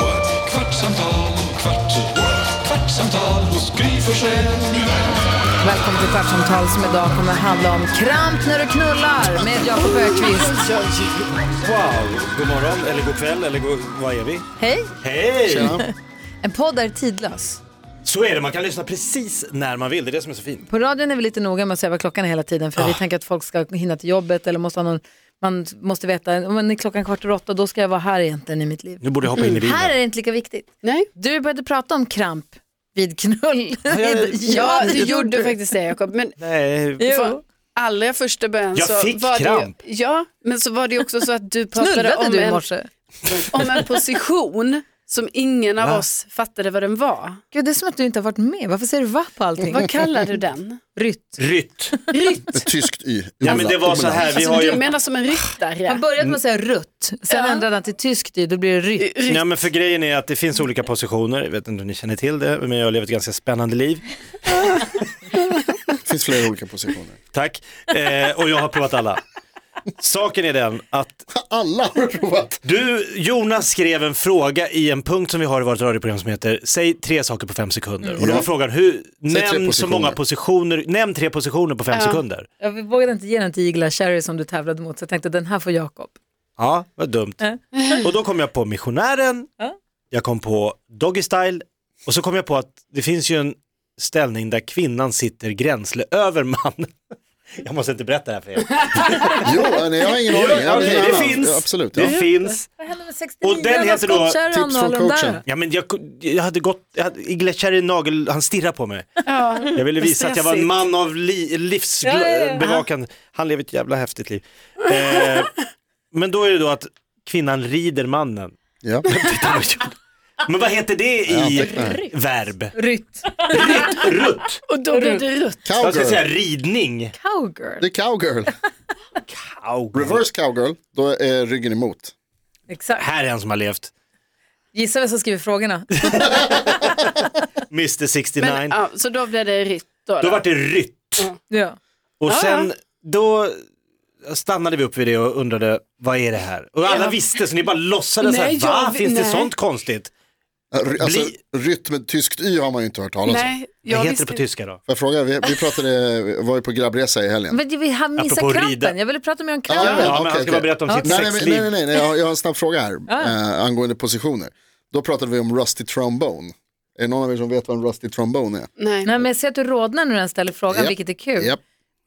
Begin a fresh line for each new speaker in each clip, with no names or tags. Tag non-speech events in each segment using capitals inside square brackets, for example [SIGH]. what? kvartsamtal, kvart, what? kvartsamtal hos Gry Forssell med vänner.
Välkommen till Kvartsamtal som idag kommer handla om kramp när du knullar med Jakob Ökvist.
Wow! God morgon, eller god kväll, eller god... Vad är vi?
Hej!
Hej!
En podd är tidlös.
Så är det, man kan lyssna precis när man vill. Det är det som är så fint.
På radion är vi lite noga med att säga vad klockan är hela tiden för vi tänker att folk ska hinna till jobbet eller måste ha någon, man måste veta, om man är klockan kvart över åtta då ska jag vara här egentligen i mitt liv.
Nu borde jag hoppa in i bilen.
Här är det inte lika viktigt.
Nej.
Du började prata om kramp vid knull. [LAUGHS]
jag-
Ja,
det
du gjorde
du.
faktiskt det Jakob. Men
Nej,
från allra första början
Jag
så
fick
var
kramp.
det ju, Ja, men så var det ju också så att du
[LAUGHS]
pratade
Knullade
om
du i
en,
morse?
[LAUGHS] om en position som ingen av
Va?
oss fattade vad den var.
Gud, det är som att du inte har varit med. Varför säger du va på allting?
Vad kallar du den?
Rytt.
rytt.
Ett tyskt y.
Ja, men det var så här, vi
Alltså,
har
du
ju...
menar som en ryttare.
Han började med att säga rutt, sen ändrade han till tyskt i, då blir det rytt.
Ja, men för grejen är att det finns olika positioner, jag vet inte om ni känner till det, men jag har levt ett ganska spännande liv.
Det finns flera olika positioner.
Tack. Eh, och jag har provat alla. Saken är den att
Alla har provat.
du, Jonas skrev en fråga i en punkt som vi har i vårt radioprogram som heter Säg tre saker på fem sekunder. Och då var
Ja.
frågan, hur,
Mm. tre
nämn så
positioner.
många positioner, nämn tre positioner på fem sekunder.
Jag vågade inte ge den till Igla Cherry som du tävlade mot så jag tänkte den här får Jakob.
Ja, vad dumt.
Ja. [LAUGHS]
Och då kom jag på missionären,
Ja.
jag kom på doggy style och så kom jag på att det finns ju en ställning där kvinnan sitter gränsle över mannen. [LAUGHS] Jag måste inte berätta det här för er.
Jo, nej, jag har
[LAUGHS]
ingen aning. Jag har
Okej,
ingen
det
annan.
finns.
Ja, absolut.
Det
Ja.
finns.
Vad hände med 69
Och den heter då
Tips från coachen.
Ja, men jag, jag hade gått, jag hade, jag glätjade i nagel, han stirrar på mig.
Ja.
Jag ville visa att jag var en
Stressigt.
man av li,
Ja, ja, ja.
livsbevakande. Han lever ett jävla häftigt liv. Eh, men då är det då att kvinnan rider mannen. [LAUGHS]
Ja.
Men vad heter det
Jag
i
antecknar.
verb?
Rytt.
Rytt, rutt.
Och då blir det rutt.
Jag ska säga
Cowgirl.
ridning.
Cowgirl.
Det är cowgirl. Reverse cowgirl, då är ryggen emot.
Exakt.
Här är en som har levt.
Gissa vem som skriver frågorna.
Mr 69.
Men, ja, så då blev det rytt. Då, då.
Då vart det rytt.
Ja.
Och
Ja,
sen då stannade vi upp vid det och undrade vad är det här? Och alla visste så ni bara låtsades
Nej,
så här, va?
jag-
Finns det
nej.
sånt konstigt?
R- Alltså,
Bli-
rytm, tyskt y har man ju inte hört talas om.
Nej, jag
Vad heter
visste
det på
inte.
tyska då?
Får jag fråga, vi, vi pratade, vi var ju på grabbresa i helgen.
Men vi har
Apropå
missat
rida.
krampen. Jag ville prata mer om
Ja,
krampen.
Ja, men
okej,
han ska
okej.
bara berätta om sitt
Nej, nej,
sexliv.
nej, nej, nej, nej, jag, har, jag har en snabb fråga här eh, angående positioner. Då pratade vi om rusty trombone. Är det någon av er som vet vad en rusty trombone är?
Nej.
Nej, men jag ser att du rodnar när den ställer frågan,
Japp.
vilket är kul.
Japp.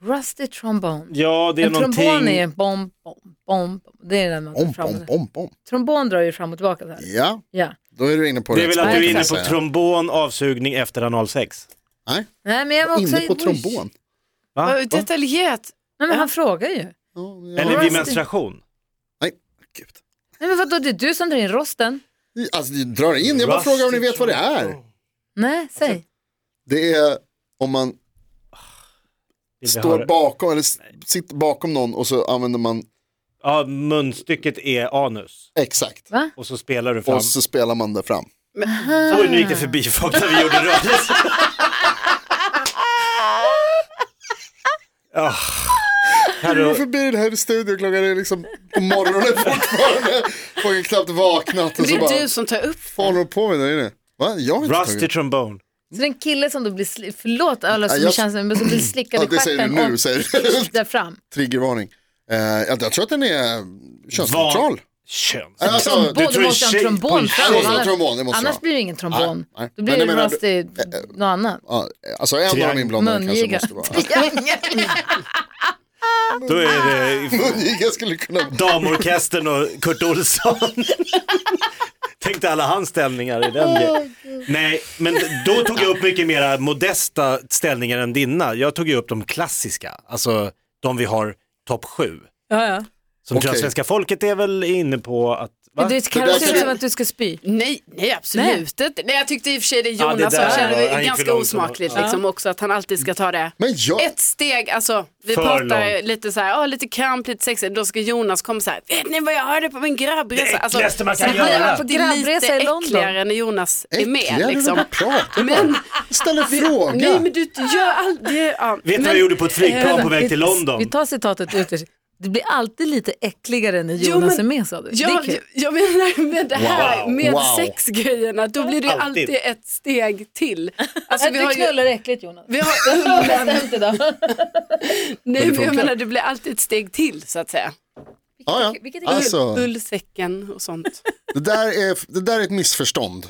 Rusty trombone.
Ja, det är
en trombon är
någonting.
en bom, bom, bom. Det är den man tar
Om,
fram.
om, om, om.
Trombon drar ju fram och tillbaka. Så här.
Ja,
Ja.
då är du inne på
Det är väl att du är inne på
spår, kan jag säga.
trombon, avsugning efter analsex.
Nej,
Nej, men jag var också...
inne på trombon.
Va?
Vad Detaljerat.
Nej, men han frågar ju.
Ja, ja.
Eller
Rusty.
vid menstruation.
Nej, gud.
Nej, men vadå, det är du som drar in rosten.
Alltså, ni drar in, jag bara
Rusty
frågar om ni vet vad det är.
trombon.
Nej, säg.
Det är om man
Vill vi höra?
står bakom, eller s- sitter bakom någon och så använder man,
Ja, munstycket är anus.
exakt,
Va?
Och så spelar du fram.
och så spelar man det fram.
Oj, nu gick det förbi folk när vi gjorde
[LAUGHS]
rörelsen. Oh.
Jag går
Herre,
förbi den här studion klockan är liksom på morgonen [LAUGHS] fortfarande. Folk har knappt vaknat och
Det
så bara,
är du som tar upp.
fan håller du på med där inne? Va? Jag har inte
rusty
tagit-
trombone.
Så det är en kille som då blir, sli- förlåt alla som
Ja, jag-
känns, men som blir slickad
[CLEARS THROAT] Ja,
i
det säger du
stjärten
nu,
och
säger du.
där
[CLEARS THROAT]
fram.
Triggervarning. Eh, jag, jag tror att den är könsneutral.
Köns.
Nej, Alltså,
Trombon,
du
du,
tror en
måste ha en
tjej- på en
trombon
tjej.
fram.
Måste ha
Annars-
trombon, det måste
Annars
ha.
blir det ingen trombon.
Nej, nej.
Då
Men
blir
jag
det
menar, du- eh,
rusty, något annat.
Ja, alltså en av
Triangel.
de inblandade kanske
Mungiga.
måste vara. [LAUGHS]
Då är det
Mungiga skulle kunna vara.
damorkestern och Kurt Olsson. [LAUGHS] Tänkte alla hans ställningar i den grejen. Nej, men då tog jag upp mycket mera modesta ställningar än dina. Jag tog ju upp de klassiska, alltså de vi har topp sju.
Ja, ja.
Som tror
Okej.
jag svenska folket är väl inne på att Va?
Det
där
kan se ut
kan-
som att du ska spy.
Nej, nej absolut inte. Nej, jag tyckte i och för sig det
Ja, det
Jonas
där
sa
var- han
kändes
gick för
ganska
långt.
osmakligt
Ja.
liksom också att han alltid ska ta det.
Men jag,
Ett steg, alltså vi
För
pratar
långt.
lite så här, "Åh, lite kramp, lite sexigt, då ska Jonas komma så här, vet ni vad jag hörde på min grabbresa? Alltså,
äckligaste man kan
det blir
göra.
alltid
På grabbresa
lite
i London.
äckligare när Jonas är med.
Äckligare
Liksom.
när du pratar
Men,
ställer fråga.
nej men du gör aldrig, ja.
Vet du
men, Eh,
vad jag gjorde på ett flygplan på väg till
Vi
London?
tar citatet ut. Det blir alltid lite äckligare när
Jo,
Jonas
men-
är med sa du. Det är
Ja,
kul.
jag menar med det här
Wow.
med
Wow.
sexgrejerna, då blir det ju
Alltid.
alltid ett steg till. Alltså, vi
du
har ju,
knullar äckligt Jonas. [LAUGHS]
vi har,
Bestämt idag.
[LAUGHS] nej, men
funkar.
jag menar det blir alltid ett steg till så att säga.
ja, ja.
vilket är-
Alltså,
Ullsäcken och sånt.
det, där är, det där är ett missförstånd.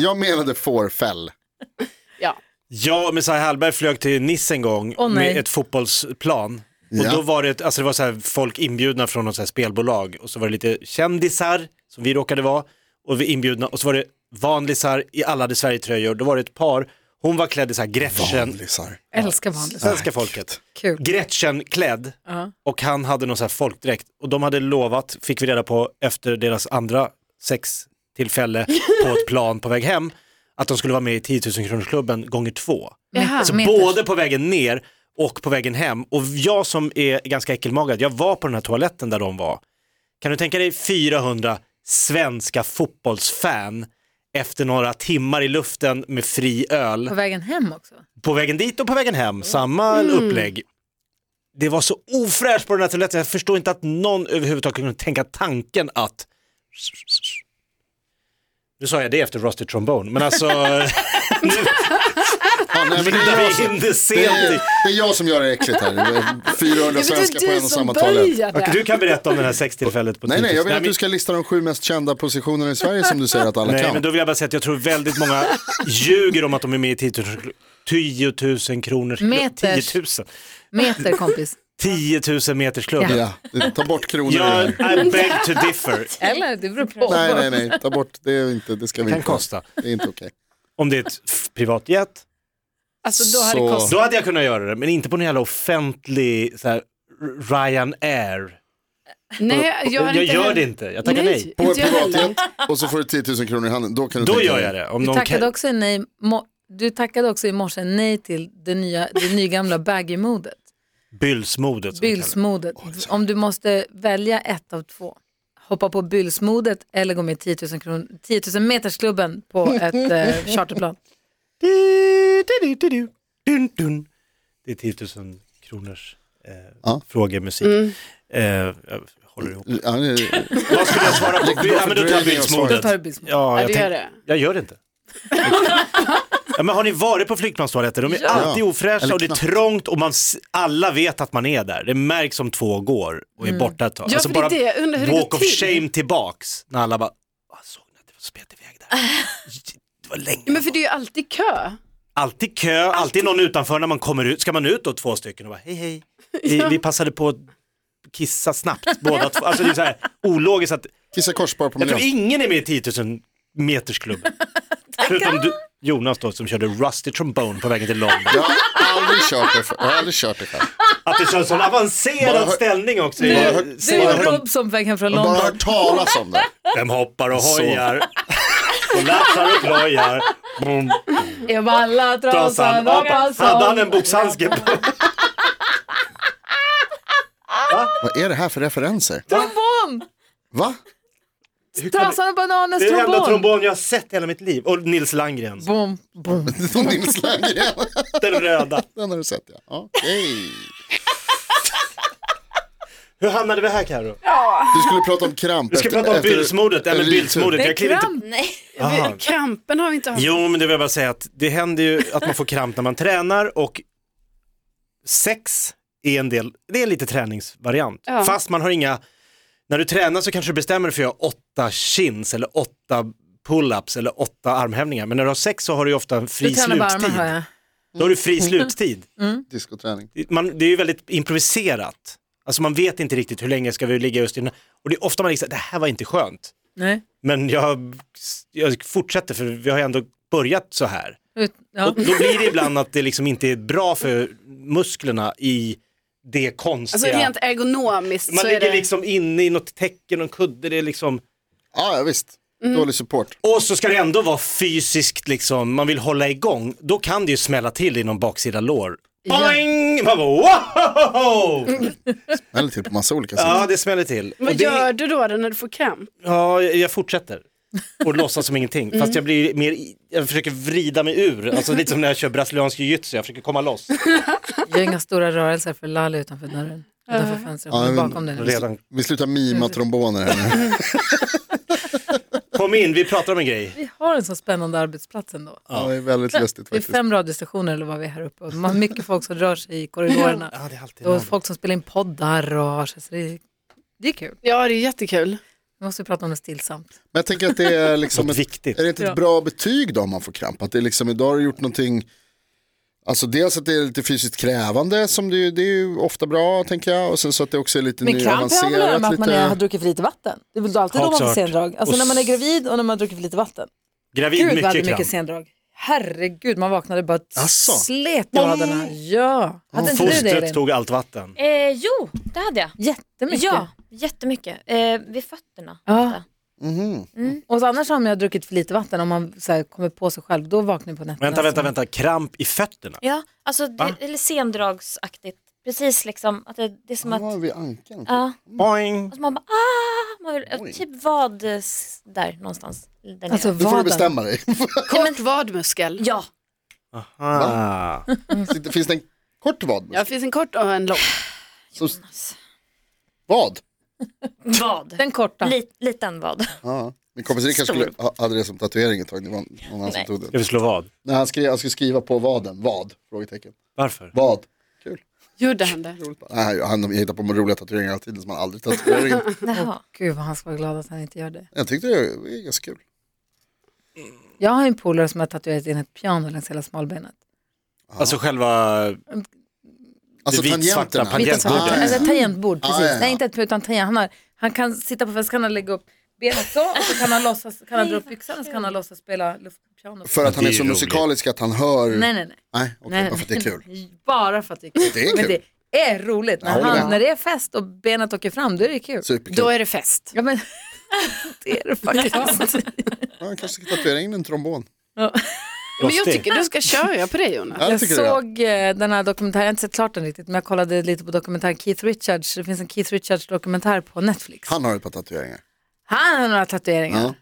Jag menade fårfäll.
Ja.
Ja, Messiah Hallberg flög till Nice en gång
Åh, nej.
med ett fotbollsplan.
Ja.
Och då var det, ett- alltså det var så här folk inbjudna från något så här spelbolag och så var det lite kändisar som vi råkade vara och vi inbjudna och så var det vanlisar i alla hade Sverigetröjor. Då var det ett par, hon var klädd i så här Gretchen,
Vanlisar.
Älskar vanligt.
svenska folket.
Kul.
Gretchen-klädd och han hade någon så här folkdräkt och de hade lovat, fick vi reda på efter deras andra sextillfälle på ett plan på väg hem, att de skulle vara med i 10 000 kronorsklubben gånger två.
Jaha.
Så både på vägen ner och på vägen hem. Och jag som är ganska äckelmagad, jag var på den här toaletten där de var. Kan du tänka dig 400 svenska fotbollsfan efter några timmar i luften med fri öl
På vägen hem också.
på vägen dit och på vägen
Mm.
hem, samma upplägg. Det var så ofräscht på den här toaletten, jag förstår inte att någon överhuvudtaget kunde tänka tanken att... Nu sa jag det efter Rusty Trombone, men
[LAUGHS]
alltså... nu
Ja, nej, men
[LAUGHS]
det, är jag
är
som,
vi in det
det,
sent i...
är, det är jag som gör det äckligt här. Det är 400 svenskar på en och samma toalett.
Okej, du kan berätta om det här sextillfället på
Nej, nej,
10 000.
jag vill att
men-
du ska lista de sju mest kända positionerna i Sverige som du säger att alla
Nej,
kan.
men då vill jag bara säga att jag tror väldigt många
[LAUGHS]
ljuger om att de är med i 10 000, 10 000 kronors...
Meters.
10 000.
Meter kompis.
10 000 meters klubb.
Ja, det- ta bort kronor
Ja,
ur det.
I beg to differ.
Eller? Det beror på.
Nej, nej, nej, ta bort, det, är inte, det ska vi
kan
inte ha.
kosta.
Det är inte okej.
Om det är ett f- privatjet,
Alltså då hade det
Så-
kostat.
då hade jag kunnat göra det, men inte på en jävla offentlig så här, Ryanair.
Nej, jag, hade
jag
inte
gör
heller-
det inte, jag tackar nej.
På ett
inte jag heller.
privatjet och så får du 10 000 kronor i handen, då kan du
Då
tänka
gör
dig.
jag det. Om
Du
någon
tackade
kan...
också nej, mo- du tackade också i morse nej till det, nya, det
[LAUGHS]
nygamla baggy-modet.
Bylsmodet. som vi kallar det.
Bylsmodet. Om du måste välja ett av två. Hoppa på bylsmodet eller gå med i 10 000, kronor, 10 000 metersklubben på ett
[LAUGHS]
eh, charterplan.
Du, du, du, du, dun, dun. Det är 10 000 kronors eh,
Ja.
frågemusik.
Mm.
Eh, jag håller ihop.
Ja, det-
Vad skulle jag svara på? Ja, men då tar jag
Då
bylsmodet.
tar du bylsmodet.
Ja,
Ja,
jag,
du gör
tänk,
det.
jag gör det
[LAUGHS]
inte. Ja, men har ni varit på flygplanstoaletter? De är alltid ofräscha
Eller
och det är
knappt.
trångt och man, s- alla vet att man är där. Det märks om två går och är borta ett tag.
Mm.
Alltså
Ja, för det är det. Jag undrar hur det
walk
går
of
till.
shame tillbaks när alla bara, "Ah, såg ni att det var spet iväg där? Det var länge.
Ja, men för det är ju alltid kö.
Alltid kö, alltid, någon utanför när man kommer ut. Ska man ut då två stycken och bara hej
[LAUGHS]
hej. Vi, vi passade på att kissa snabbt båda två. Alltså det är så
[LAUGHS]
här ologiskt att
Kissa korsbar på
jag tror
miljön.
ingen är med i 10 000
[LAUGHS]
metersklubben. Förutom du, Jonas då som körde Rusty Trombone på vägen till
[LAUGHS]
London.
Jag har aldrig kört det för- jag har aldrig kört det själv.
Att det känns som avancerad
Bara-
ställning också.
Bara
i-
hört-
Du
bara
är
hört-
Rob som väg hem från
jag har bara
London.
hört talas om det.
Vem hoppar och hojar. Och lassar och klojar. Bom,
Jag bara alla
Trasan.
trasan,
Hade
hoppas
han en boxhandske på?
Vad är det här för referenser?
Trombon!
Va? [LAUGHS]
Hur kan
Trasan och bananens
Det är den enda
trombon.
trombon jag har sett i hela mitt liv. Och Nils Landgren,
Bom, bom.
Från Nils Landgren. [LAUGHS]
den röda.
Den har du sett ja. Okej.
Hur hamnade vi här Carro?
Du skulle prata om kramp.
Vi ska prata om bylsmordet. Nej, men bylsmordet.
Det är
Jag kliver inte...
kramp.
Aha.
Vi, krampen har vi inte haft.
Jo, men det vill jag bara säga att det händer ju att man får kramp när man tränar och sex är en del, det är lite träningsvariant.
Ja.
Fast man har inga, när du tränar så kanske du bestämmer dig för att göra åtta chins eller åtta pull-ups eller åtta armhävningar. Men när du har sex så har du ju ofta en
Du
fri
tränar bara Mm.
sluttid.
armar hör jag.
Då har du fri sluttid.
Diskoträning.
man, det är ju väldigt improviserat. Alltså man vet inte riktigt hur länge ska vi ligga just i den här. Och det är ofta man liksom, det här var inte skönt.
Nej.
Men jag, jag fortsätter för vi har ju ändå börjat så här.
Ut, ja.
Och då blir det ibland att det liksom inte är bra för musklerna i det konstiga.
Alltså rent ergonomiskt
man
så är
ligger
det.
liksom inne i något täcke, någon kudde, det är liksom,
Ja, ja visst. Dålig support.
Och så ska det ändå vara fysiskt, liksom, man vill hålla igång. Då kan det ju smälla till i någon baksida lår. Boing! Man bara, wow!
Eller till på massa olika sätt.
Ja, det smäller till. Och
Vad
det,
gör du då när du får kramp?
Ja, jag jag fortsätter. Och låtsas som ingenting.
Mm.
Fast jag blir mer, i- jag försöker vrida mig ur. Alltså lite som när jag kör brasiliansk jiu-jitsu, jag försöker komma
[LAUGHS]
loss.
Gör inga stora rörelser för Lalli utanför dörren.
Äh.
Utanför fönstret,
Ja,
hon är
men-
bakom dig. nu.
Redan.
Vi slutar mima tromboner här nu.
Kom in, vi pratar om en grej.
Vi har en så spännande arbetsplats ändå.
Ja, det är väldigt lustigt
Det är
faktiskt.
fem radiostationer eller vad vi är här uppe. Och man har mycket folk som rör sig i korridorerna.
Ja, det är alltid någon.
Och folk som spelar in poddar och har sig. Så det, är- det är kul.
Ja, det är jättekul.
Vi måste prata om det stillsamt.
Men jag tänker att det är liksom
Något
ett,
viktigt.
är det inte ett
Ja.
bra betyg då om man får kramp? Att det är liksom idag har du gjort någonting, alltså dels att det är lite fysiskt krävande som det, det är ju ofta bra tänker jag och sen så att det också är lite
Men kramp har väl att göra med
nyavancerat.
att man är, har
Lite...
druckit för lite vatten? Det är väl då alltid
Ja,
då man får
klart.
sendrag? Alltså
Och
när man är
s-
gravid och när man har druckit för lite vatten.
Gravid,
Gud vad
mycket
hade
kram.
mycket sendrag. Herregud, man vaknade bara
Asså?
slet i raderna. Ja, hade inte du det
Fostret
Elin?
tog allt vatten.
Eh, jo, det hade jag.
Jättemycket.
Ja, jättemycket. Eh, vid fötterna.
Ja.
Mhm.
Och så annars om jag har druckit för lite vatten, om man så här, kommer på sig själv, då vaknar jag på nätterna.
Vänta, vänta, vänta, kramp i fötterna.
Ja, alltså det,
Va?
eller sendragsaktigt. Precis liksom, att det, det är som
Den var
att,
vid ankeln.
ja,
Boing!
alltså man bara ah, man vill, typ vad eh, s- där någonstans. Där
Alltså
nere.
Nu får du
vardagen.
bestämma dig.
Mm.
Kort vadmuskel.
Ja,
Ah.
Sitter- [LAUGHS] Finns det en kort vad?
Ja, det finns en kort och en lång.
Som... Vad?
vad.
Den korta.
Lit,
[LAUGHS]
liten vad.
Ja. Min kompis Rickard skulle, ha- hade det som tatuering ett tag, det var någon annan som
Nej.
tog det.
Ska vi slå vad?
När han, skrev, han skulle skriva på vaden, vad? Frågetecken.
Varför?
Vad?
Gjorde han det?
Nej, han hittar på roliga tatueringar hela tiden som han aldrig tatuerar.
Jaha.
Gud vad han ska vara glad att han inte gör det.
Jag tyckte det var ganska kul.
Jag har en polare som har tatuerat in ett piano längs hela smalbenet.
Alltså själva
Alltså
Det vitsvarta
tangenterna.
pan-
Vitt och svart.
Ah, ja.
Alltså ett tangentbord, precis.
Ah, ja, ja.
Nej, inte ett utan tangent. Han, har, han kan sitta på fönstret, så kan han lägga upp benet så och så kan han, låtsas, kan han dra upp byxan och så kan han låtsas spela luftpiano.
För att
Det
han är
är
så
roligt.
musikalisk att han hör.
Nej, nej, nej.
Nej,
nej.
okej, bara för att det är kul.
[LAUGHS] bara för att det är kul.
Det är
Men
kul.
det är roligt. När,
Jag håller
han,
med.
när det är fest och benet åker fram, då är det kul.
Superkul.
Då är det fest.
Ja, men, [LAUGHS] det är det faktiskt.
Ja, han kanske ska tatuera in en trombon.
Men jag
Lustig.
tycker du ska köra på det Jonas.
Ja, det
Jag
tycker jag.
såg eh, den här dokumentären, jag har inte sett klart den riktigt, men jag kollade lite på dokumentären Keith Richards. Det finns en Keith Richards-dokumentär på Netflix.
Han har ett par tatueringar.
Han har några tatueringar.
Ja.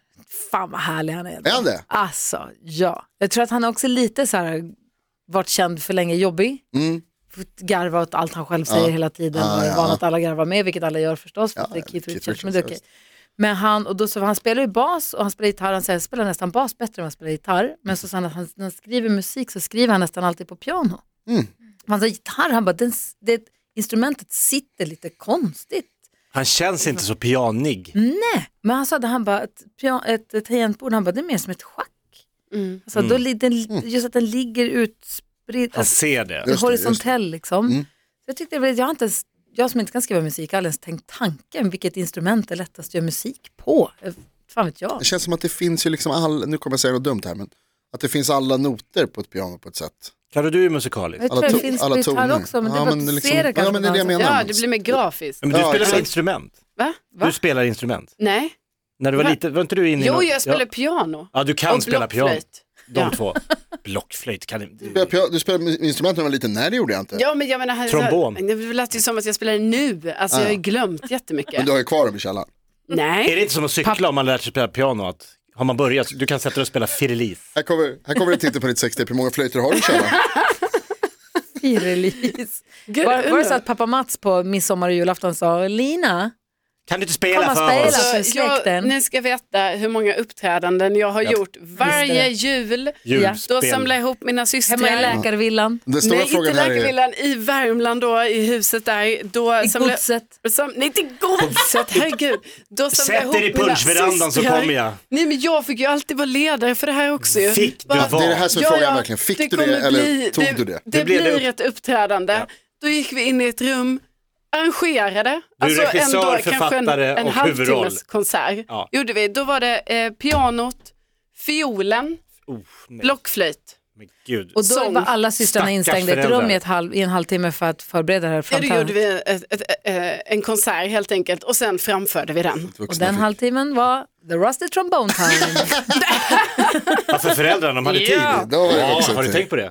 Fan vad härlig han är.
Är han det?
Alltså, ja. Jag tror att han är också lite så här, varit känd för länge, jobbig.
Mm.
Fått Garva åt allt han själv säger hela tiden.
Ja,
och är
ja,
van
ja.
att alla garvar med, vilket alla gör förstås. för
Ja,
att det är
ja,
Keith Richards,
Richards,
men det är okej. Men han, och då, så, han spelar ju bas och han spelar gitarr. Han säger, jag spelar nästan bas bättre än vad jag spelar gitarr. Men så sa han att han, när han skriver musik så skriver han nästan alltid på piano.
Mm.
Han sa gitarr, han bara, den, det, instrumentet sitter lite konstigt.
Han känns inte så pianig.
Mm.
Nej, men han sa det, han bara, ett, pia- ett, ett tangentbord, han bara, det är mer som ett schack.
Mm.
Alltså, då, li- den, just att den ligger utspridd,
Han
alltså,
ser det.
Just det,
horisontell liksom.
Mm.
Så jag, tyckte, det var- jag, har inte ens, jag som inte kan skriva musik har aldrig ens tänkt tanken vilket instrument är lättast att göra musik på. Eh, Fan vet
[LAUGHS]
jag.
Det känns som att det finns ju liksom all, nu kommer jag säga något dumt här, men att det finns alla noter på ett piano på ett sätt.
Kalle, du är musikalisk.
Jag
alla
tror det
to-
finns
alla
på gitarr
toner.
också, men det
Ja,
är bara
men
att du
liksom-
ser det
ja,
kanske.
men det är det jag
på något
menar.
annat
Ja, det blir mer grafiskt.
Men du
Ja,
spelar väl
exakt.
instrument?
Va? Va?
Du spelar instrument?
Nej.
När du var
Va?
liten, var inte du inne i
Jo,
någon-
jag spelar
Ja.
piano.
Ja, du kan
och
spela piano.
blockflöjt.
De
Ja.
två. Blockflöjt kan du...
Du spelar- Du spelade instrument när du var liten, nej det gjorde jag inte.
Ja, men jag menar, han-
Trombon.
Det lät ju som att jag spelar nu. Alltså, jag har ju glömt jättemycket.
Men du har ju kvar dem i källaren.
Är
Nej.
det inte som att cykla om man lär sig spela piano? Att har man börjat, du kan sätta dig och spela firilis.
Här kommer, här kommer det titta på ditt sextape, hur många flöjter har du
[LAUGHS]
i källaren?
Firrelease. Var, var det
undrar.
så att pappa Mats på midsommar och julafton sa Lina,
Kan du inte
Kan
spela
man
för
spela?
oss?
för släkten.
Alltså, jag, ni ska veta hur många uppträdanden jag har gjort varje jul. Då samlar jag ihop mina
hemma i
systrar.
läkarvillan,
Den stora
Nej, inte
frågan här är,
läkarvillan, i Värmland då, i huset där. Då
i
samlar jag-
godset.
Som, nej inte godset, herregud. Då samlar jag
Sätt dig i
ihop mina
punschverandan så
systrar.
kommer jag.
Nej men jag fick ju alltid vara ledare för det här också ju.
Fick du
Bara-
vara?
det är det här som är
Ja,
frågan
ja,
verkligen, fick du det
kommer
eller
bli-
tog
det,
du det?
Det,
Det blev
blir
det upp-
ett uppträdande. Då gick vi in i ett rum, arrangerade. alltså
Du är regissör,
kanske
författare
en, en
och huvudroll.
halvtimmes konsert.
Ja.
Gjorde vi. Då var det eh, pianot, fiolen,
Oh, nej,
blockflöjt.
men gud.
Och då
Sång.
var alla systrarna
Stackars
instängda i ett
föräldrar.
rum i, ett halv, i en halvtimme för att förbereda det här
Ja, då
framträdandet.
gjorde vi ett, ett, ett, eh, en konsert helt enkelt och sen framförde vi den.
Och
Vuxna
den
fick-
halvtimmen var The Rusty
[LAUGHS]
Trombone Time.
Ja, Alltså, för föräldrarna, de hade
Ja.
tid.
Då var det typ.
Ja,
vuxen
har du
tid.
tänkt på det?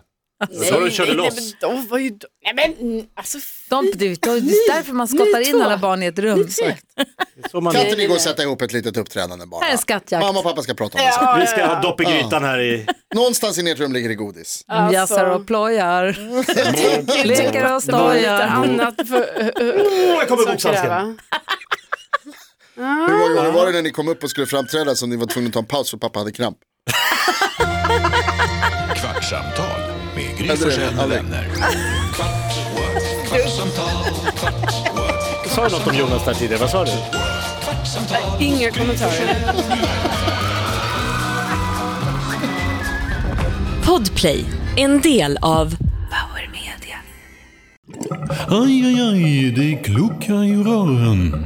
Så de körde
nej,
loss.
men de var ju... Nej, men mm, alltså... f-
De, det är ju därför man skottar in alla barn i ett rum.
Så man,
Kan inte ni gå och sätta ihop ett litet uppträdande bara?
Här är en skattjakt.
Mamma och pappa ska prata om det sen.
vi ska ha dopp i grytan här i...
Någonstans i ert rum ligger det godis.
Alltså.
Mjässar och plojar.
Mm.
Leker och
Det var lite
stojar.
annat för,
Oh, jag kommer
som
boxhandsken.
kräva.
Hur många gånger var det när ni kom upp och skulle framträda som ni var tvungna att ta en paus för pappa hade kramp?
Kvartsamtal med Gry
det är det.
Forssell med
Aldrig.
vänner. Kvart, what? kvartsamtal, kvart, what?
Sa du något om Jonas där tidigare? Vad sa du?
kvartsamtal.
Inga kommentarer.
Podplay, en del av
Aj, aj, aj, det kluckar i rören.